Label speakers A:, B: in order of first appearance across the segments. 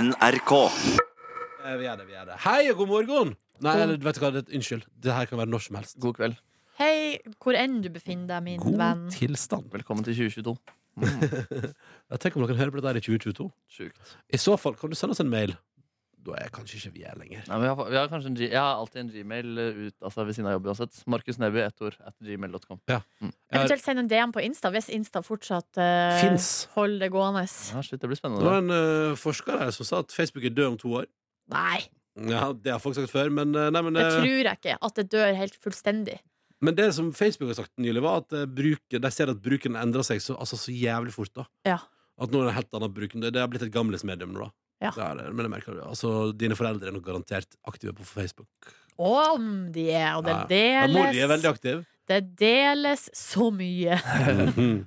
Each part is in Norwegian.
A: NRK.
B: Eh, Vi er det, vi er det. Hei og god morgen! Nei,
C: God-
B: eller, vet du hva, det, unnskyld. Det her kan være når som helst.
D: God kveld.
C: Hei, hvor enn du befinner deg, min venn.
B: God tilstand.
D: Velkommen til 2022.
B: Jeg tenker om noen hører på dette her i 2022.
D: Sjukt.
B: I så fall kan du sende oss en mail. Da er kanskje ikke vi her lenger.
D: Nei, men jeg, har, vi har kanskje en, G- jeg har alltid en gmail ut, altså ved siden av jobb uansett. Markus Neby, ett ord, at gmail.com.
B: Jeg har,
C: Eventuelt send en DM på Insta hvis Insta fortsatt eh,
B: Fins.
C: holder det gående.
D: Ja, ah, shit, det blir
B: det var
D: spennende.
B: en eh, forsker her som sa at Facebook er død om to år.
C: Nei,
B: Ja, Det har folk sagt før, men, eh, nei, men,
C: det
B: eh,
C: tror jeg ikke. At det dør helt fullstendig.
B: men det som Facebook har sagt nylig, var at eh, bruken, de ser at bruken endrer seg så, altså, så jævlig fort. da
C: Ja.
B: At nå er det en helt annen bruk. Det, det har blitt et gamlismedium nå. da
C: Ja.
B: det er det, men jeg merker det. Altså, Dine foreldre er nok garantert aktive på Facebook.
C: Om de er, og det
B: Ja. Ja, mor di er
C: deles
B: veldig aktiv.
C: Det deles så mye.
B: Mhm.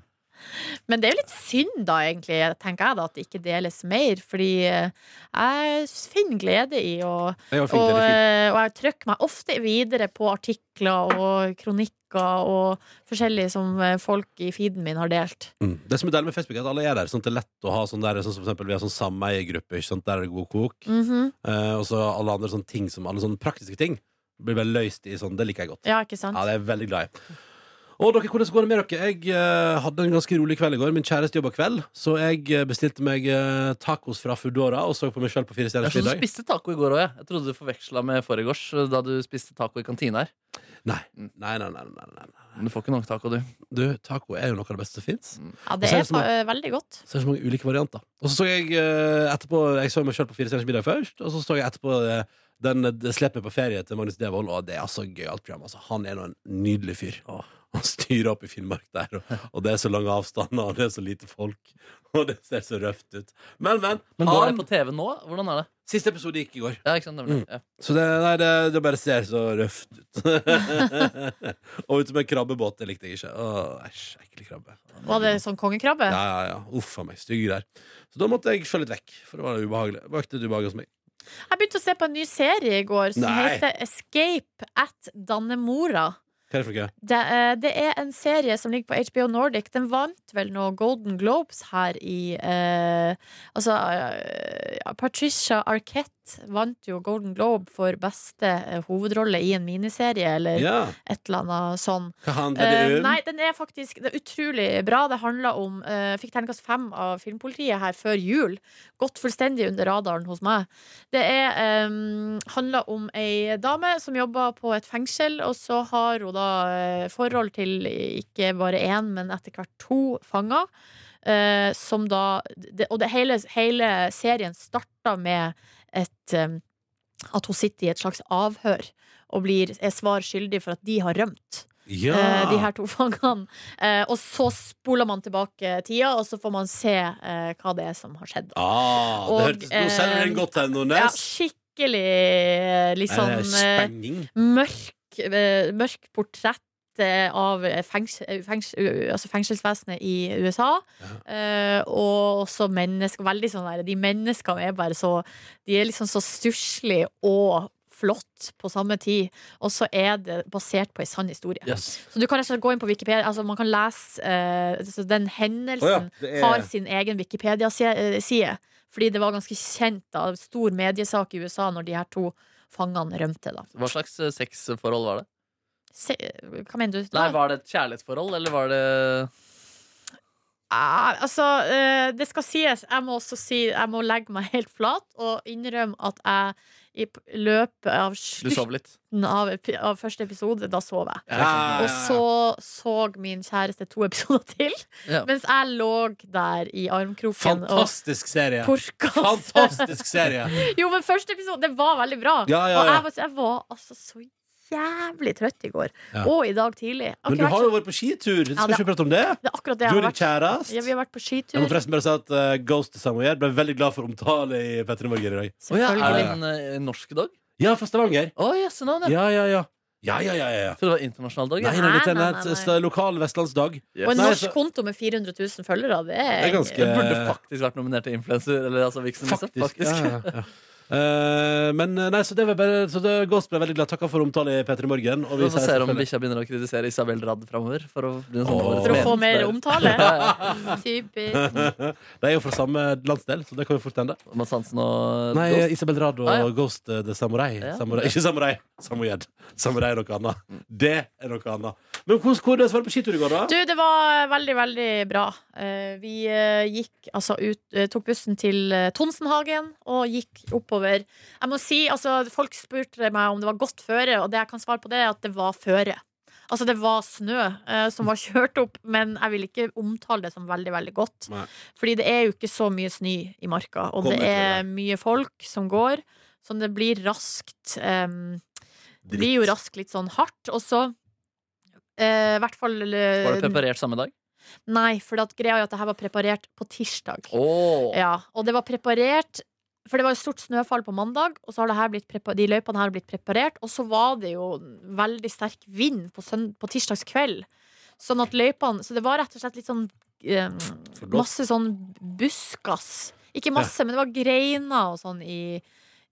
C: Men det er jo litt synd, da, egentlig, tenker jeg, da, at det ikke deles mer. Fordi eh, jeg finner glede i å
B: Jeg har
C: og,
B: fint, det er fint.
C: eh, og jeg trykker meg ofte videre på artikler og kronikker og forskjellig som eh, folk i feeden min har delt.
B: Mm. Det som er deilig med Facebook, er at alle er der. Sånn at det er lett å ha sånn der, sånn som for eksempel, Vi har sånn sameiegruppe, ikke sant? der er det god kok.
C: Mhm.
B: Eh, og så alle andre sånne ting som, alle sånne praktiske ting blir bare løst i sånn. Det liker jeg godt.
C: Ja, ikke sant?
B: Ja, det er jeg veldig glad i. Og dere, hvordan går det med dere? Jeg eh, hadde en ganske rolig kveld i går. Min kjæreste jobba kveld, så jeg eh, bestilte meg eh, tacos fra Foodora og så på meg sjøl på Fire
D: Jeg
B: stjerners
D: så du
B: middag.
D: spiste taco i går òg, jeg. Jeg trodde du forveksla med foregårs, da du spiste taco i kantina her.
B: Nei. Nei, nei, nei, nei, nei, nei.
D: Men du får ikke nok taco, du.
B: Du, taco er jo noe av det beste som fins.
C: Ja,
B: Og
C: det
B: så er
C: er
B: det som
C: fa- eh, veldig godt.
B: Så er det så mange ulike varianter. Og så så jeg eh, etterpå Jeg så meg sjøl på Fire stjerners middag først, og så så jeg etterpå eh, den eh, Slepp meg på ferie til Magnus Devold, og det er altså gøyalt program. Altså, han er nå en nydelig fyr. Han styrer opp i Finnmark der, og, og det er så lange avstander, og det er så lite folk, og det ser så røft ut. Men, men,
D: Men går det
B: han,
D: på TV nå? Hvordan er det?
B: Siste episode gikk i går.
D: Ja, ikke sant, nemlig. Ja.
B: Så det, nei, det, det bare ser så røft ut. og ute med krabbebåt, det likte jeg ikke. Åh, Æsj, ekkel krabbe.
C: Var det sånn kongekrabbe?
B: Ja, ja, ja. Uff a meg. Stygg der. Så da måtte jeg sjøl litt vekk, for det var ubehagelig. Vakte et ubehag hos meg.
C: Jeg begynte å se på en ny serie i går som
B: Nei.
C: heter Escape at Dannemora.
B: Hva er det for noe?
C: Det, eh, det er en serie som ligger på HBO Nordic. Den vant vel noe Golden Globes her i eh, Altså, eh, ja, Patricia Arquette vant jo Golden Globe for beste eh, hovedrolle i en miniserie, eller
B: Ja.
C: et eller annet sånn.
B: Hva handler det
C: Eh,
B: om?
C: nei, den er faktisk det er utrolig bra. Det handler om eh, Fikk terningkast fem av Filmpolitiet her før jul. Gått fullstendig under radaren hos meg. Det er, eh, handler om ei dame som jobber på et fengsel, og så har hun da eh, forhold til ikke bare én, men etter hvert to fanger. eh, som da det, Og det hele, hele serien starter med et eh, at hun sitter i et slags avhør og blir, er svar skyldig for at de har rømt
B: ja.
C: eh, de her to fangene. Eh, og så spoler man tilbake tida, og så får man se eh, hva det er som har skjedd.
B: ah, det
C: og, eh,
B: hørtes Nå selger den godt her,
C: Ja,
B: Nordnes.
C: skikkelig eh, liksom
B: Er det
C: eh,
B: Spenning.
C: mørk, eh, mørk portrett. eh, Av eh, fengs, eh, fengs, eh, altså fengselsvesenet i USA. Eh, og også mennesker. Veldig sånn der, de menneskene er bare så De er liksom så stusslige og flott på samme tid. Og så er det basert på ei sann historie. Så du kan rett og slett gå inn på Wikipedia Altså man kan lese eh, altså, Den hendelsen
B: Å ja, det er-
C: har sin egen Wikipedia-side Fordi det var ganske kjent da Stor mediesak i USA når de her to fangene rømte da
D: Hva slags eh, sexforhold var det?
C: Se, Hva mener du?
D: Nei, Var det et kjærlighetsforhold, eller var det
C: Ah, altså, eh, det skal sies Jeg må også si Jeg må legge meg helt flat Og innrømme at jeg I p- løpet av
D: Du
C: slutten
D: sov litt?
C: av, epi- av første episode Da sov jeg
B: Ja, ja,
C: Og
B: ja.
C: så så min kjæreste to episoder til
D: Ja.
C: Mens jeg lå der i armkroken og
B: Fantastisk serie.
C: porka
B: Fantastisk serie.
C: Jo, men første episode, det var veldig bra.
B: Ja, ja,
C: Og
B: ja.
C: jeg var, jeg var altså så jævlig trøtt i går.
B: Ja.
C: Og i dag tidlig. Jeg har
B: Men
C: ikke
B: du
C: vært
B: har
C: så-
B: jo vært på skitur. Skal
C: Ja,
B: vi
C: det-
B: ikke prate om det?
C: det er akkurat
B: Du
C: det jeg
B: og
C: har
B: din
C: vært. Ja, vi
B: kjæreste.
C: har vært på
B: Jeg må
C: skitur.
B: forresten bare si at eh, Ghost Samoyer ble veldig glad for omtale i Petter i Morgen i dag.
D: Å ja, er det
C: Selvfølgelig.
D: en eh, norsk dag?
B: Ja, fra Stavanger.
D: Å, jøsse navn, ja.
B: Ja, ja, ja. Ja, ja, ja, ja. ja.
D: Jeg trodde det var internasjonal dag.
B: Nei,
D: Ja.
B: nei, dette
C: Nei,
B: er
C: nei,
B: en
C: nei,
B: helt, eh, lokal vestlandsdag.
C: Og en
B: Nei,
C: norsk
B: så-
C: konto med 400 000 følgere, det er,
B: Det er ganske-
D: Jeg burde faktisk vært nominert til influenser. Eller altså Vixen, liksom.
B: Faktisk.
D: Faktisk.
B: Ja, ja, ja. Eh, men eh, nei, så det var bare Så det Gåsbø er veldig glad. Takka for omtale i P3 Morgen. Og
D: Vi
B: vi sier
D: får se om
B: selvfølgelig-
D: bikkja begynner å kritisere Isabel Rad framover. For å, bli en sånn
B: Åh.
D: årets
C: For å få mer
D: medlemsbærer.
C: omtale.
D: Ja, ja.
C: Typisk.
B: De er jo fra samme landsdel, så det kan jo fort hende.
D: Mads Hansen og
B: Nei,
D: Ghost.
B: Isabel Rad og
D: Ah, ja.
B: Ghost eh, the Samurai.
D: Ja.
B: samurai. Ikke Samurai. Samoyed. Samurai er noe annet. Det er noe annet. Men hvordan hvordan var det på skitur i går, da?
C: Du, det var veldig, veldig bra. Eh, Vi eh, gikk altså ut eh, Tok bussen til eh, Tonsenhagen og gikk oppover. Jeg må si, altså, folk spurte meg om det var godt føre, og det jeg kan svare på det, er at det var føre. Altså, det var snø eh, som var kjørt opp, men jeg vil ikke omtale det som veldig, veldig godt.
B: Nei.
C: Fordi det er jo ikke så mye snø i marka, og
B: Kommer
C: det
B: til
C: er
B: det.
C: mye folk som går, så det blir raskt eh, Det blir jo raskt litt sånn hardt, og så eh, I hvert fall
D: Var det preparert samme dag?
C: Nei, for at greia er at det her var preparert på tirsdag.
D: Oh.
C: Ja, og det var preparert For det var et stort snøfall på mandag, og så har det her blitt prepa- de løypene her blitt preparert. Og så var det jo veldig sterk vind på, søn- på tirsdags kveld. Sånn at løypene Så det var rett og slett litt sånn eh,
B: Forblåst.
C: Masse sånn buskas. Ikke masse, men det var greiner og sånn i,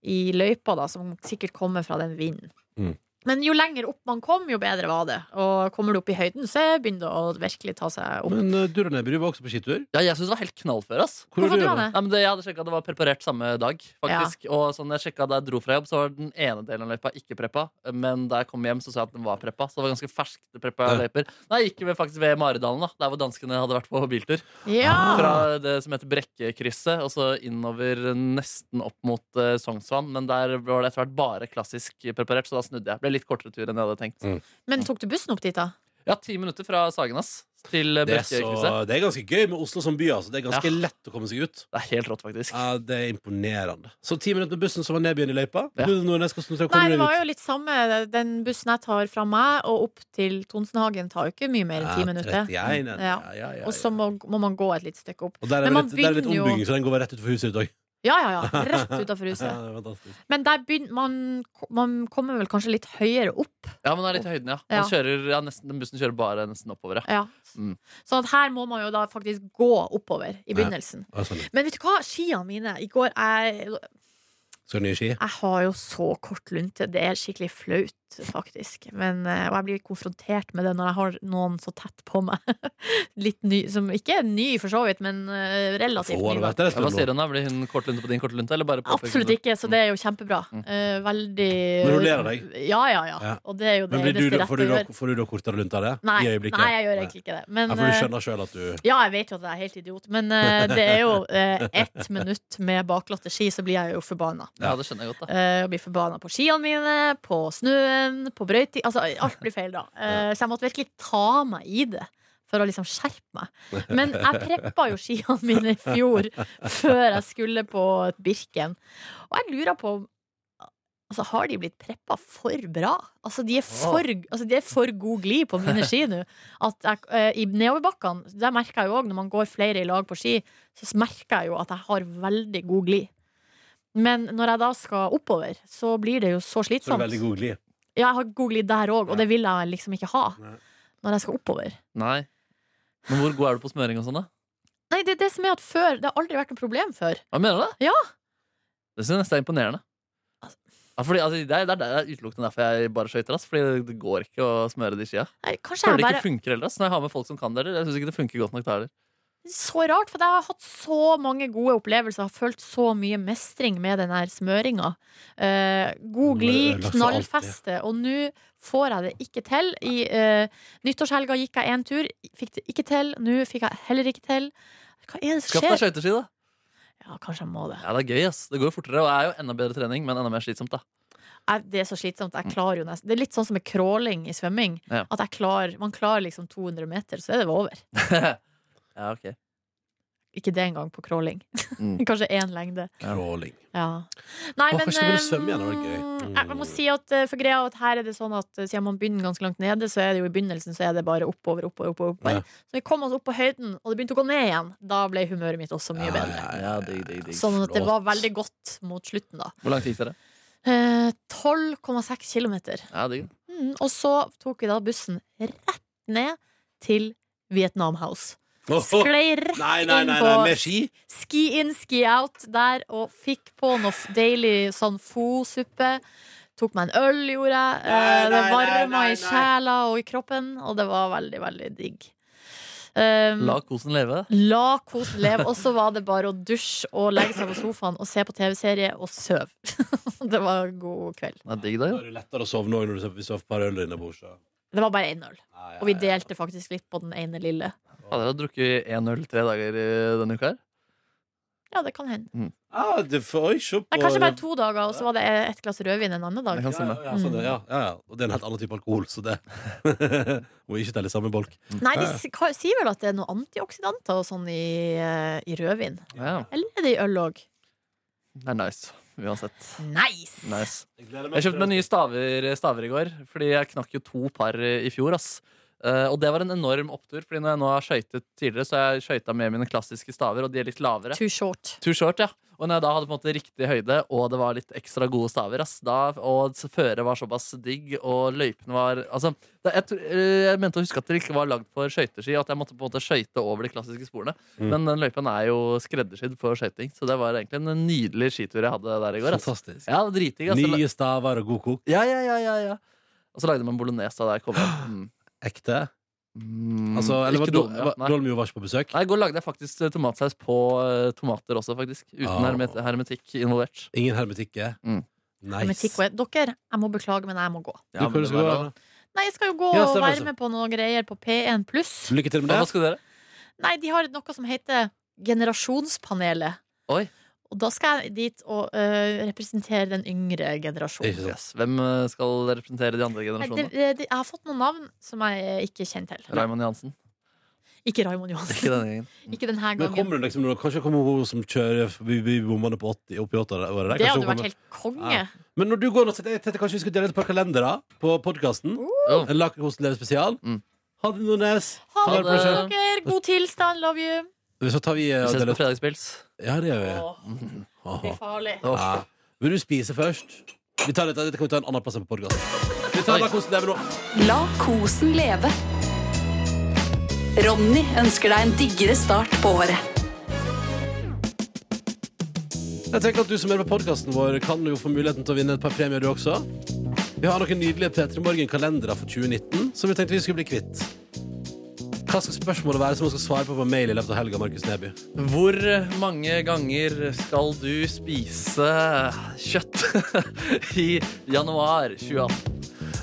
C: i løypa, da, som sikkert kommer fra den vinden.
B: Mm.
C: Men jo lenger opp man kom, jo bedre var det. Og kommer du opp i høyden, så begynner det å virkelig ta seg opp.
B: Men uh, Durenebru var også på skitur.
D: Ja, jeg syns det var helt knallfør. ass
C: Hvorfor
B: var
C: dro
B: det?
C: han det?
D: Nei, men det, jeg hadde sjekket at det var preparert samme dag. faktisk Og sånn jeg sjekket Da jeg dro fra jobb, så var den ene delen av løypa ikke preppa. Men da jeg kom hjem, så så jeg at den var preppa. Så det var ganske ferskt preppa
B: Ja.
D: løyper. Nei, jeg gikk ved, faktisk ved Maridalen, da der hvor danskene hadde vært på biltur.
B: Ah.
C: Ja!
D: Fra det som heter Brekkekrysset, og så innover nesten opp mot eh, Sognsvann. Men der var det etter hvert bare klassisk preparert, så da snudde jeg. Ble litt kortere tur enn jeg hadde tenkt.
C: Men tok du bussen opp dit, da?
D: Ja, ti minutter fra Sagenas til eh,
B: Det er, så,
D: Brekkekrysset.
B: det er ganske gøy med Oslo som by. Altså. Det er ganske
D: Ja.
B: lett å komme seg ut.
D: Det er helt rått, faktisk.
B: Ja, det er imponerende. Så ti minutter med bussen som var nedbyen i løypa.
D: Ja.
B: Du, Nordnes, hvordan tror du jeg
C: Nei,
B: kommer
C: det
B: deg ut?
C: var jo litt samme. Den bussen jeg tar fra meg og opp til Tonsenhagen, tar jo ikke mye mer enn ti
B: Ja,
C: minutter.
B: 31,
C: Mm,
B: ja,
C: Ja.
B: ja, ja, ja.
C: Og så må, må man gå et lite stykke opp.
B: Og der er det
C: Men man
B: litt, der er det litt
C: begynner jo-
B: ombygging, så den går bare rett utenfor huset ditt òg.
C: Ja, ja, ja. Rett utafor huset.
B: Hva
C: Men der begynner man Man kommer vel kanskje litt høyere opp.
D: Ja, men det er litt i høyden, ja.
C: Ja.
D: Man kjører, ja nesten, den bussen kjører bare nesten oppover, ja.
C: Ja.
D: Mm.
C: Så at her må man jo da faktisk gå oppover i begynnelsen.
B: sånn.
C: Men vet du hva? Skiene mine i går jeg,
B: Skal du ha nye ski?
C: jeg har jo så kort lunte. Det er skikkelig flaut, faktisk. Men, eh, og jeg blir konfrontert med det når jeg har noen så tett på meg. Litt ny, som ikke er ny, for så vidt, men eh,
B: Få
C: relativt ny.
B: har
C: da.
B: vært der en
D: Ja, hva
B: stund
D: sier
B: nå.
D: hun da? Blir hun kortlunte på din kortlunte? Eller bare på
C: Absolutt ikke, så det er jo kjempebra. Eh, veldig
B: Mm. Men hun ler av deg?
C: Ja, ja, ja.
B: Ja.
C: Og det er jo det
B: Men blir du,
C: eneste
B: da-
C: rette
B: får, du
C: å
B: da,
C: gjøre.
B: får du da kortere lunt av det?
C: Nei,
B: I øyeblikket?
C: nei, jeg gjør
B: Nei.
C: egentlig ikke det. Men,
B: Ja, for du
C: eh,
B: skjønner sjøl at du
C: ja, jeg vet jo at jeg er helt idiot, men eh, det er jo eh, ett minutt med baklatte ski, så blir jeg jo forbanna.
D: Ja, det skjønner jeg godt, da.
C: Eh, og blir forbanna på skiene mine, på snøen, på brøyting Altså, alt blir feil da. Eh, så jeg måtte virkelig ta meg i det. For å liksom skjerpe meg. Men jeg preppa jo skiene mine i fjor før jeg skulle på Birken. Og jeg lurer på Altså, har de blitt preppa for bra? Altså, de er for, altså, de er for god glid på mine ski nå. At jeg, eh, I nedoverbakkene, der merker jeg jo òg, når man går flere i lag på ski, så merker jeg jo at jeg har veldig god glid. Men når jeg da skal oppover, så blir det jo
B: Så
C: så
B: er
C: slitsomt.
B: du veldig god glid.
C: sånn. Ja, jeg har god glid der òg, og det vil jeg liksom ikke ha
B: Nei.
C: når jeg skal oppover.
D: Nei. Men hvor god er du på smøring og sånn, da?
C: Nei, det er det som er at før Det har aldri vært noe problem før.
D: Hva mener du det?
C: Ja.
D: Det synes jeg nesten er imponerende.
C: Altså-
D: Ja, fordi, altså, det, er, det, er, det er utelukkende derfor jeg bare skøyter. ass, Fordi det går ikke å smøre de skia.
C: Nei, kanskje
D: Føler
C: jeg
D: det
C: bare
D: ikke funker heller. ass, Når jeg har med folk som kan det heller. Jeg synes ikke det funker godt nok da heller.
C: Så rart, for jeg har hatt så mange gode opplevelser. Jeg har følt så mye mestring med den her smøringa. Eh, god glid,
B: Laksa
C: knallfeste. Og nå får jeg det ikke til. I eh, nyttårshelga gikk jeg én tur, fikk det ikke til. Nå fikk jeg heller ikke til. Hva er det som
D: Skaff deg
C: skjer?
D: skøyteski, da.
C: Ja, kanskje jeg må det.
D: Ja, det er gøy, ass. Det går jo fortere, og det er jo enda bedre trening, men enda mer slitsomt, da.
C: jeg, det er så slitsomt. Jeg klarer jo nesten Det er litt sånn som med crawling i svømming.
D: Ja.
C: At jeg klarer, man klarer liksom 200 meter, så er det over.
D: Ja, ok.
C: Ikke det engang på crawling.
D: Mm.
C: Kanskje én lengde.
B: Crawling.
C: Ja. Nei,
B: Å,
C: men
B: kanskje jeg begynner å
C: eh,
B: svømme igjen, det var gøy.
C: mm, Jeg, jeg må si at eh, for greia er at her er det sånn at eh, siden man begynner ganske langt nede, så er det jo i begynnelsen så er det bare oppover, oppover, oppover.
B: Ja.
C: oppover. Så vi kom oss opp på høyden, og det begynte å gå ned igjen. Da ble humøret mitt også mye
B: Ja,
C: bedre.
D: Ja, digg, digg, digg.
C: Sånn at det var
B: flott.
C: veldig godt mot slutten, da.
D: Hvor lang tid gikk dere?
C: Eh, 12,6 kilometer.
D: Ja, digg.
C: Mm, og så tok vi da bussen rett ned til Vietnam House. Sklei rett
B: Nei, nei, nei, nei, med ski?
C: ski in, ski out der og fikk på noe f- deilig sånn fo-suppe. Tok meg en øl, gjorde jeg. Eh,
B: Nei,
C: det
B: nei, nei,
C: varma
B: nei, nei.
C: i sjela og i kroppen, og det var veldig, veldig digg. Um,
D: La kosen leve.
C: La kosen leve. Og så var det bare å dusje og legge seg på sofaen og se på TV-serie og sove. det var en god kveld.
D: Det altså. er digg, da,
B: Da
D: jo.
B: er det lettere å sovne òg når du ser- hvis du har et par øl innabords. da.
C: Det var bare én øl.
B: Nei,
C: Og vi
B: nei,
C: delte faktisk litt på den ene lille.
D: Hadde dere drukket én øl tre dager i denne uka her?
C: Ja, det kan hende.
B: Ah, det får, oi, se på
C: Nei, kanskje bare to dager, og så var det ett glass rødvin en annen dag.
D: Det kan
B: Ja,
D: stemme.
B: ja, ja, sånn, det, ja, ja, ja. Og det er en helt annen type alkohol, så det må ikke telle i samme bolk.
C: Nei, de s- ka- sier vel at det er noen antioksidanter og sånn i, eh, i rødvin.
D: Ja,
C: Eller er det i øl òg?
D: det er nice. Uansett.
C: Nice!
D: Nice.
B: Jeg gleder
D: Jeg kjøpte meg nye staver, staver i går, fordi jeg knakk jo to par eh, i fjor. ass. Eh, og det var en enorm opptur, Fordi når jeg nå har skøytet tidligere, så har jeg skøyta med mine klassiske staver, og de er litt lavere.
C: Too short.
D: Too short, ja. Og når jeg da hadde på en måte riktig høyde, og det var litt ekstra gode staver, ass, da, og s- føret var såpass digg, og løypene var Altså, det, jeg, tror- eh, jeg mente å huske at det ikke var lagd for skøyteski, og at jeg måtte på en måte skøyte over de klassiske sporene.
B: Mm.
D: Men den løypen er jo skreddersydd for skøyting, så det var egentlig en nydelig skitur jeg hadde der i går. Ass.
B: Fantastisk.
D: Ja, dritdigg. ass.
B: Nye staver og god kok.
D: Ja, ja, ja, ja, ja. Og så lagde man bolognese da jeg kom hjem. Mm.
B: Ekte.
D: Mm.
B: Altså, eller var
D: Ikke
B: Dol-
D: do- ja,
B: var-
D: nei.
B: Dolmio var ikke på besøk?
D: Nei, I går lagde jeg faktisk eh, tomatsaus på eh, tomater også, faktisk. Uten
B: Ah.
D: hermet hermetikk involvert.
B: Ingen hermetikke?
D: Mm.
C: Men
B: Nice.
C: Tikko, Dere, jeg må beklage, men jeg må gå.
B: Du, hva
D: men
B: du
D: det
B: skal gå,
D: var da-
B: da?
C: Nei, jeg skal jo gå
B: Ja,
C: og
B: stemmer,
C: være med på noen greier på P1 pluss.
B: Lykke til med
D: Ja,
B: det.
D: Hva skal dere?
C: Nei, de har noe som heter Generasjonspanelet.
D: Oi.
C: Og da skal jeg dit og øh, representere den yngre generasjonen.
B: Ikke sant.
D: Yes. Hvem eh, skal representere de
C: Nei,
D: andre
C: det,
D: generasjonene?
C: det, jeg har fått noen navn som jeg ikke kjenner til.
D: Raymond Johansen.
C: Ikke Raymond
D: Ikke
C: Johansen.
D: denne gangen.
C: Ikke denne
B: Men
C: gangen.
B: kommer hun liksom, nå- Kanskje kommer hun som kjører forbi forbi bommene på 80 oppi 80 der, året der. Kanskje hun
C: Det hadde jo
B: kommer-
C: vært helt konge.
B: Ja. Men når du går nå, så tenkte jeg kanskje vi skulle dele ut et par kalendere på podkasten.
D: Oh.
B: En Lakenkosen lever spesial.
D: Mm.
B: Ha det, Nordnes.
C: Ha
B: Ta vare
C: det,
B: på
C: bra,
D: deg
C: dere. God tilstand. Love you.
B: Så tar vi eh,
D: Vi
B: og
D: ses
B: deler
D: på
B: ut.
D: fredagspils.
B: Ja, det gjør vi.
C: Åh, det er
B: Aha.
C: farlig.
B: Ja. Vil du spise først? Vi tar dette, dette kan vi ta en annen plass enn på podkasten. Vi tar
D: Oi.
B: Lakenkosen lever nå.
A: La kosen leve. Ronny ønsker deg en diggere start på året.
B: Jeg tenker at Du som er på podkasten vår, kan jo få muligheten til å vinne et par premier, du også. Vi har noen nydelige P3 Morgen-kalendere for 2019 som vi tenkte vi skulle bli kvitt. Hva skal spørsmålet være som man skal svare på på mail i løpet av helga? Markus Neby?
D: Hvor mange ganger skal du spise kjøtt i januar 2018?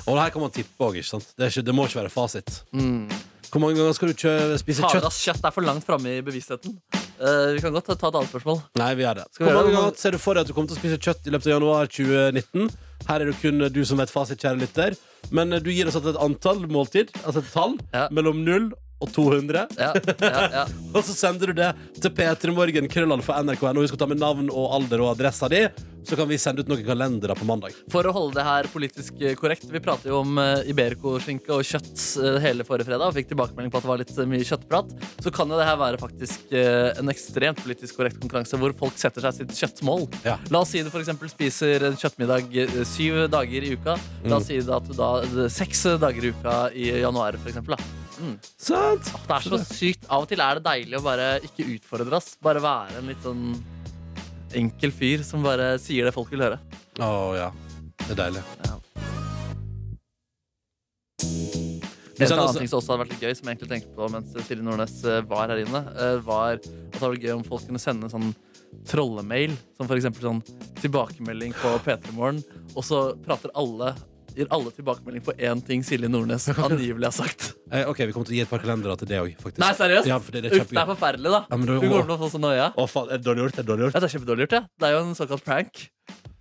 B: Og her kan man tippe òg, ikke sant? Det, er ikke, det må ikke være fasit.
D: Mm.
B: Hvor mange ganger skal du kjø- spise kjøtt?
D: Hardas kjøtt er for langt framme i bevisstheten. Eh, vi kan godt ta et annet spørsmål.
B: Nei, vi gjør det.
D: Skal vi
B: Hvor
D: gjøre
B: mange
D: det?
B: ganger ser du for deg at du kommer til å spise kjøtt i løpet av januar 2019? Her er det kun du som vet fasit, kjære lytter. Men eh, du gir oss altså et antall måltid, altså et tall,
D: Ja.
B: mellom 0 og 200.
D: Ja, ja, ja.
B: Og så sender du det til P3morgen, krøllalfa, nrk.no. Husk å ta med navn og alder og adressa di, så kan vi sende ut noen kalendere på mandag.
D: For å holde det her politisk eh, korrekt, vi prater jo om eh, iberikoskinke og kjøtt eh, hele forrige fredag, og fikk tilbakemelding på at det var litt eh, mye kjøttprat, så kan jo det her være faktisk eh, en ekstremt politisk korrekt konkurranse hvor folk setter seg sitt kjøttmål.
B: Ja.
D: La oss si du for eksempel spiser en kjøttmiddag eh, syv dager i uka. La oss si at du da eh, seks dager i uka i januar, for eksempel. Da.
B: Sant?
D: Det er så sykt. Av og til er det deilig å bare ikke utfordre oss, bare være en litt sånn enkel fyr som bare sier det folk vil høre.
B: Å ja. Det er deilig.
D: Ja.
B: Du
D: En
B: sender
D: annen
B: oss,
D: ting som også hadde vært litt gøy, som jeg egentlig tenkte på mens Silje Nordnes eh, var her inne, eh, var at det hadde vært gøy om folk kunne sende en sånn trollemail, som for eksempel sånn tilbakemelding på P3 Morgen, og så prater alle Gir alle tilbakemelding på én ting Silje Nordnes angivelig har sagt.
B: eh, ok, vi kommer til å gi et par kalendere til det òg, faktisk.
D: Nei, seriøst?
B: Ja, for det, det er
D: Uff, det er
B: kjempegøy.
D: forferdelig, da.
B: Ja, men
D: Hun
B: det-
D: kommer til å få så noia.
B: Å faen, er det dårlig gjort? Er det dårlig
D: Ja,
B: gjort?
D: det er kjempedårlig gjort, det. Det er jo en såkalt prank.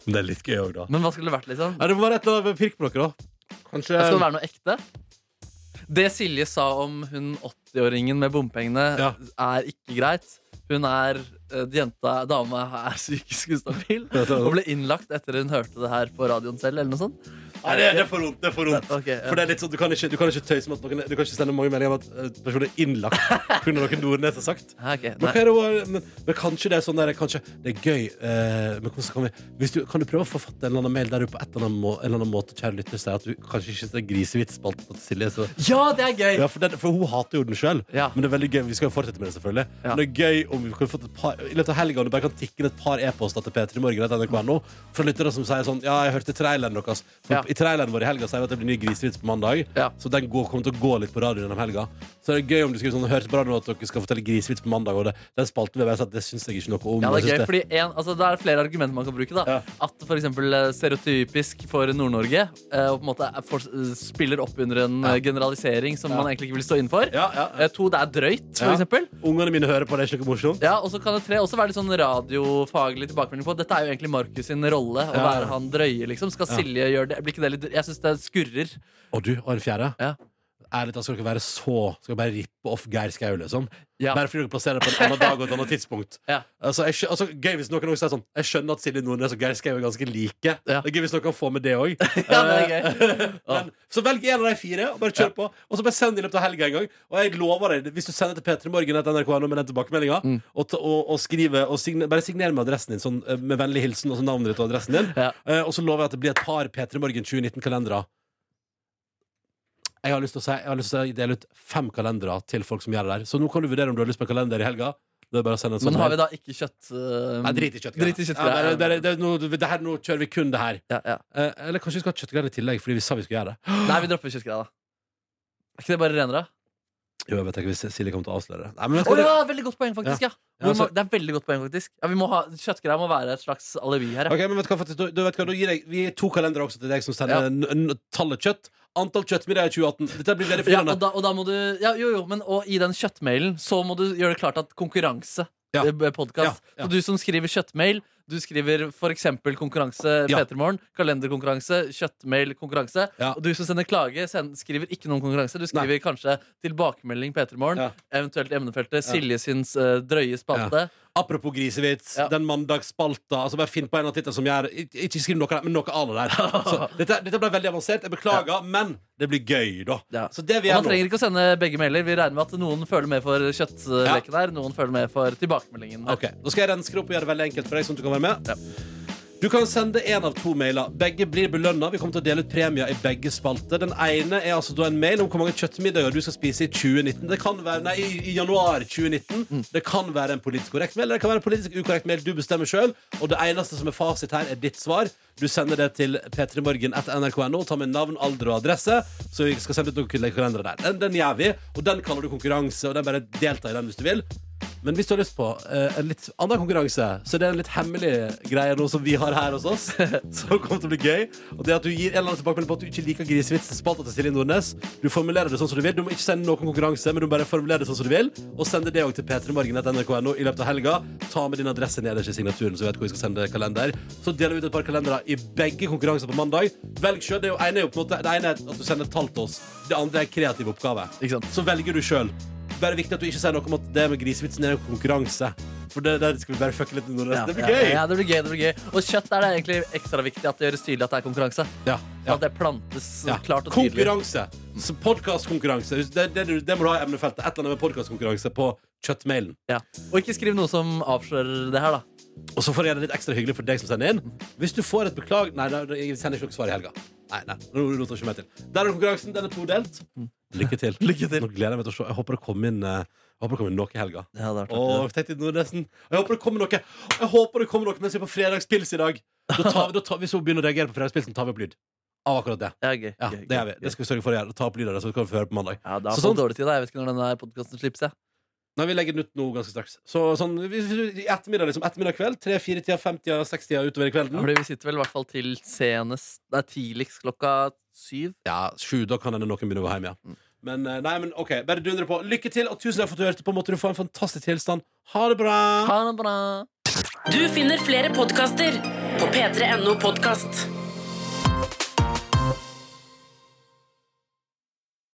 B: Men det er litt gøy òg, da.
D: Men hva skulle det vært, liksom?
B: Nei, det må være et eller annet med pirkblokker, da. Kanskje
D: Skal det være noe ekte? Ehm, Det Silje sa om hun 80-åringen med bompengene,
B: Ja.
D: er ikke greit. Hun er eh, jenta, Dama er psykisk ustabil og ble innlagt etter hun hørte det her på radioen selv. Eller noe sånt.
B: Nei, det, er- det er for vondt. Det er for vondt.
D: Ok, ja.
B: For det er litt sånn, du kan ikke, du kan ikke tøyse med at noen, Du kan ikke sende mange meldinger om at eh, personen er innlagt pga. noe Nordnes har sagt.
D: Hæ, ok,
B: Men,
D: nei.
B: hva er det, vår- men, men kanskje det er sånn der Kanskje det er gøy eh, Men hvordan kan vi hvis du, Kan du prøve å forfatte en eller annen mail der du på et eller annet, må, en eller annen måte Kjære lytter sier at du kanskje ikke synes det er grisevitsspalten til Silje så.
D: Ja, det er gøy!
B: Ja, for, den, for hun hater jo den selv
D: Ja.
B: Men det er veldig gøy Vi skal jo fortsette med det selvfølgelig
D: Ja.
B: Men det er gøy om vi kan få et par I løpet av helgen Om du bare kan tikke inn et par e-poster til Peter i morgen etter NRK.no Fra lyttere som sier sånn Ja, jeg hørte traileren deres For
D: Ja.
B: I traileren vår i helgen Sier vi at det blir ny grisevits på mandag
D: Ja.
B: Så den går, kommer til å gå litt på radio gjennom helgen Så det er gøy om du skriver sånn Hørte på radioen at dere skal fortelle grisevits på mandag Og det, den spalten vil jeg bare si at Det synes jeg ikke noe om
D: Ja,
B: Jeg
D: det er gøy,
B: synes
D: fordi en, altså, Det er flere argumenter man kan bruke. da
B: Ja.
D: At for eksempel, eh, Stereotypisk for Nord-Norge eh, og på en måte er for, eh, spiller opp under en eh, generalisering som man egentlig ikke vil stå innenfor.
B: Ja, ja, ja.
D: Eh, To, det er drøyt, for
B: Ja.
D: eksempel.
B: Ungene mine hører på, det er ikke noe morsomt
D: Ja, og så kan det tre også være litt sånn radiofaglig tilbakemelding på. Dette er jo egentlig Markus sin rolle, å
B: Ja.
D: være han drøye, liksom. Skal Silje gjøre det? Blir ikke det litt Jeg syns det skurrer.
B: Og du, og en fjerde
D: Ja.
B: Ærlig talt skal dere være så Skal dere bare rippe off Geir Skau liksom
D: Ja.
B: Bare fordi dere plasserer det på en annen dag og et annet tidspunkt.
D: Ja.
B: Altså, jeg, skjø- altså, gøy hvis noen også sier sånn Jeg skjønner at Silje Nordnes og Geir Skau er ganske like.
D: Ja.
B: Det er gøy hvis noen kan få med det òg.
D: Ja, det er gøy.
B: så velg en av de fire og bare kjør på. Og så bare send det i løpet av helga en gang. Og jeg lover deg, hvis du sender til P3 Morgen etter NRK.no med den tilbakemeldinga,
D: Mm.
B: og, ta- og, og skriver og signer, Bare signer med adressen din, sånn, eh, med vennlig hilsen og så navnet ditt og adressen din.
D: Ja.
B: Eh, og så lover jeg at det blir et par P3 Morgen 2019-kalendere. Jeg har lyst til å si Jeg har lyst til å dele ut fem kalendere til folk som gjør det der. Så nå kan du vurdere om du har lyst på en kalender i helga. Det er bare å sende en sånn
D: Men har vi
B: mail.
D: da ikke kjøtt... eh,
B: Nei, drit i kjøttgreier.
D: drit i kjøttgreier.
B: Ja, bare- bare- det er noe- det her- Nå kjører vi kun det her.
D: Ja, ja.
B: Eh, eller kanskje vi skal ha kjøttgreier i tillegg, fordi vi sa vi skulle gjøre det.
D: Nei, vi dropper kjøttgreier, da. Er ikke det bare renere?
B: Jo, jeg vet ikke hvis Silje kommer til å avsløre det. Nei, men vet
D: Å
B: du hva, det-
D: ja, veldig godt poeng, faktisk. ja,
B: Ja,
D: Hvor ma-
B: altså-
D: Det er veldig godt poeng, faktisk. Ja, vi må ha, Kjøttgreier må være et slags alibi her. Ja.
B: Ok, men vet du hva, faktisk, du, du vet hva, da gir jeg, Vi gir to kalendere også til deg som sender
D: Ja.
B: n n tallet kjøtt. Antall kjøttmiddager i 2018. Dette blir veldig
D: Ja,
B: forvirrende.
D: og, da, og da må du ja, Jo, jo, men og i den kjøttmailen så må du gjøre det klart at konkurranse
B: Ja.
D: eh, podcast.
B: Ja, ja.
D: Så du som skriver kjøttmail, du skriver f.eks. konkurranse
B: Ja.
D: Petermorgen. Kalenderkonkurranse, kjøttmail, konkurranse.
B: Ja.
D: Og du som sender klage, send, skriver ikke noen konkurranse. Du skriver kanskje tilbakemelding Petermorgen,
B: Ja.
D: eventuelt i emnefeltet Silje syns eh, drøye spalte.
B: Apropos grisevits,
D: Ja.
B: den mandagsspalta. Altså bare Finn på en av titlene som gjør Ik- Ikke skriv noe av det, men noe annet der. Så, dette, dette ble veldig avansert. Jeg beklager, men det blir gøy, da.
D: Ja.
B: Så det vi gjør
D: Og man
B: nå
D: trenger ikke å sende begge mailer. Vi regner med at noen føler med for kjøttleken her, noen føler med for tilbakemeldingen.
B: Ok, Da skal jeg renske det opp og gjøre det veldig enkelt for deg. Sånn at Du kan være med Du kan sende én av to mailer. Begge blir belønna. Vi kommer til å dele ut premier i begge spalter. Den ene er altså da en mail om hvor mange kjøttmiddager du skal spise i 2019. Det kan være, nei, i, i januar 2019. Det kan være en politisk korrekt mail, eller det kan være en politisk ukorrekt mail. Du bestemmer sjøl. Og det eneste som er fasit her, er ditt svar. Du sender det til p3morgen etter nrk.no. Ta med navn, alder og adresse, så vi skal sende ut noen kalendere der. Den, den gjør vi, og den kaller du konkurranse, og den bare delta i den hvis du vil. Men hvis du har lyst på eh, en litt annen konkurranse, så det er en litt hemmelig greie nå som vi har her hos oss, som kommer til å bli gøy. Og det er at du gir en eller annen tilbakemelding på at du ikke liker grisevits til spalta til Silje Nordnes. Du formulerer det sånn som du vil. Du må ikke sende noen konkurranse, men du må bare formulere det sånn som du vil. Og sende det òg til p3morgen.nrk.no i løpet av helga. Ta med din adresse nederst i signaturen, så vi vet hvor vi skal sende kalender. Så deler vi ut et par kalendere i begge konkurranser på mandag. Velg sjøl. Det er jo- ene er jo på en måte Det ene er at du sender et tall til oss. Det andre er kreativ oppgave
D: Ikke sant?
B: så velger du sjøl. Bare viktig at du ikke sier noe om at det med grisevitsen er en konkurranse. For det, der skal vi bare fucke litt med Nordnes. det blir
D: Ja,
B: gøy!
D: ja, det blir gøy, det blir gøy. Og kjøtt er det egentlig ekstra viktig at det gjøres tydelig at det er konkurranse.
B: Ja, ja,
D: At det plantes
B: ja.
D: klart og tydelig.
B: Konkurranse. Så Podkastkonkurranse. Det, det, du- det må du ha i emnefeltet. Et eller annet med podkastkonkurranse på kjøttmailen.
D: Ja. Og ikke skriv noe som avslører det her, da.
B: Og så får jeg det litt ekstra hyggelig for deg som sender inn. Hvis du får et beklag Nei, da- da- jeg sender ikke noe svar i helga. Nei, nei, nå roter jeg ikke meg til. Der er konkurransen. Den er todelt. Lykke til.
D: Mm. Lykke til.
B: Nå gleder jeg meg til å se. Jeg håper det kommer inn, eh, jeg håper det kommer inn noe i helga.
D: Ja, det
B: Åh, tenk til Nordnesen. Jeg håper det kommer noe Jeg håper det kommer noe mens vi er på fredagspils i dag. Da tar vi, da tar, hvis hun begynner å reagere på fredagspilsen, tar vi opp lyd. Av akkurat det.
D: ja, gøy,
B: Ja,
D: gøy,
B: det, er vi.
D: gøy,
B: det
D: gøy.
B: skal vi sørge for å gjøre. Ta opp lyd av det, så kan vi få høre på mandag.
D: Ja, da
B: Så
D: har jeg
B: sånn-
D: fått dårlig tid. da. Jeg vet ikke når denne podkasten slippes. Jeg.
B: Nei, vi legger den ut nå ganske straks. Så sånn hvis- hvis- i ettermiddag, liksom. Ettermiddag kveld. Tre-fire tida, fem-tida, seks-tida utover i
D: Ja,
B: kvelden.
D: fordi vi sitter vel i hvert fall til senest Nei, tidligst klokka syv.
B: Ja, sju. Da kan hende noen begynne å gå hjem, ja. Men eh, nei, men OK. Bare dundre på. Lykke til, og tusen takk for at du hørte på. Måtte du få en fantastisk tilstand. Ha det bra.
D: Ha det bra!
E: Du finner flere podkaster på p3.no podkast.